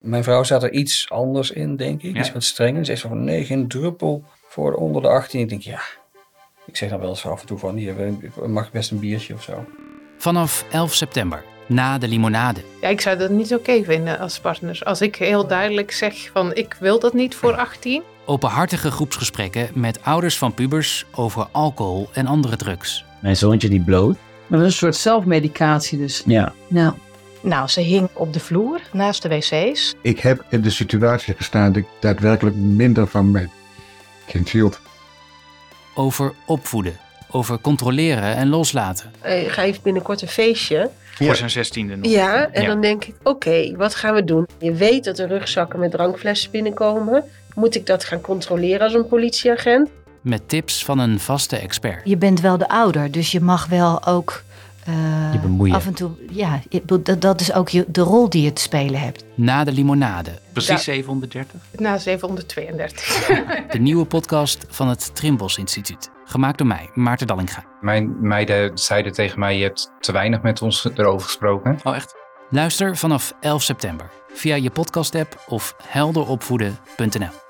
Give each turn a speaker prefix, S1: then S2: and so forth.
S1: Mijn vrouw zat er iets anders in, denk ik.
S2: Ja.
S1: Iets wat strenger. Ze zei van nee, geen druppel voor onder de 18. Ik denk ja. Ik zeg dan wel eens af en toe van hier eh, mag ik best een biertje of zo.
S2: Vanaf 11 september, na de limonade.
S3: Ja, ik zou dat niet oké vinden als partner. Als ik heel duidelijk zeg van ik wil dat niet voor 18.
S2: Openhartige groepsgesprekken met ouders van pubers over alcohol en andere drugs.
S4: Mijn zoontje die bloot.
S5: Maar dat is een soort zelfmedicatie dus.
S4: Ja.
S5: Nou,
S6: Nou, ze hing op de vloer naast de wc's.
S7: Ik heb in de situatie gestaan dat ik daadwerkelijk minder van mijn kind hield.
S2: Over opvoeden. Over controleren en loslaten.
S8: Hij geeft Eh, binnenkort een feestje.
S9: Voor zijn zestiende nog.
S8: Ja, en
S9: Ja.
S8: dan denk ik, oké, wat gaan we doen? Je weet dat er rugzakken met drankflessen binnenkomen. Moet ik dat gaan controleren als een politieagent?
S2: Met tips van een vaste expert.
S10: Je bent wel de ouder, dus je mag wel ook eh,
S4: Je bemoeien.
S10: af en toe. Ja, ik bedoel, dat, dat is ook je, de rol die je te spelen hebt.
S2: Na de limonade.
S9: Precies
S3: Ja.
S9: 730.
S3: Na 732.
S2: De nieuwe podcast van het Trimbos Instituut. Gemaakt door mij, Maarten Dallinga.
S11: Mijn meiden zeiden tegen mij, je hebt te weinig met ons erover gesproken.
S9: Oh, echt?
S2: Luister vanaf 11 september via je podcast-app of helderopvoeden.nl.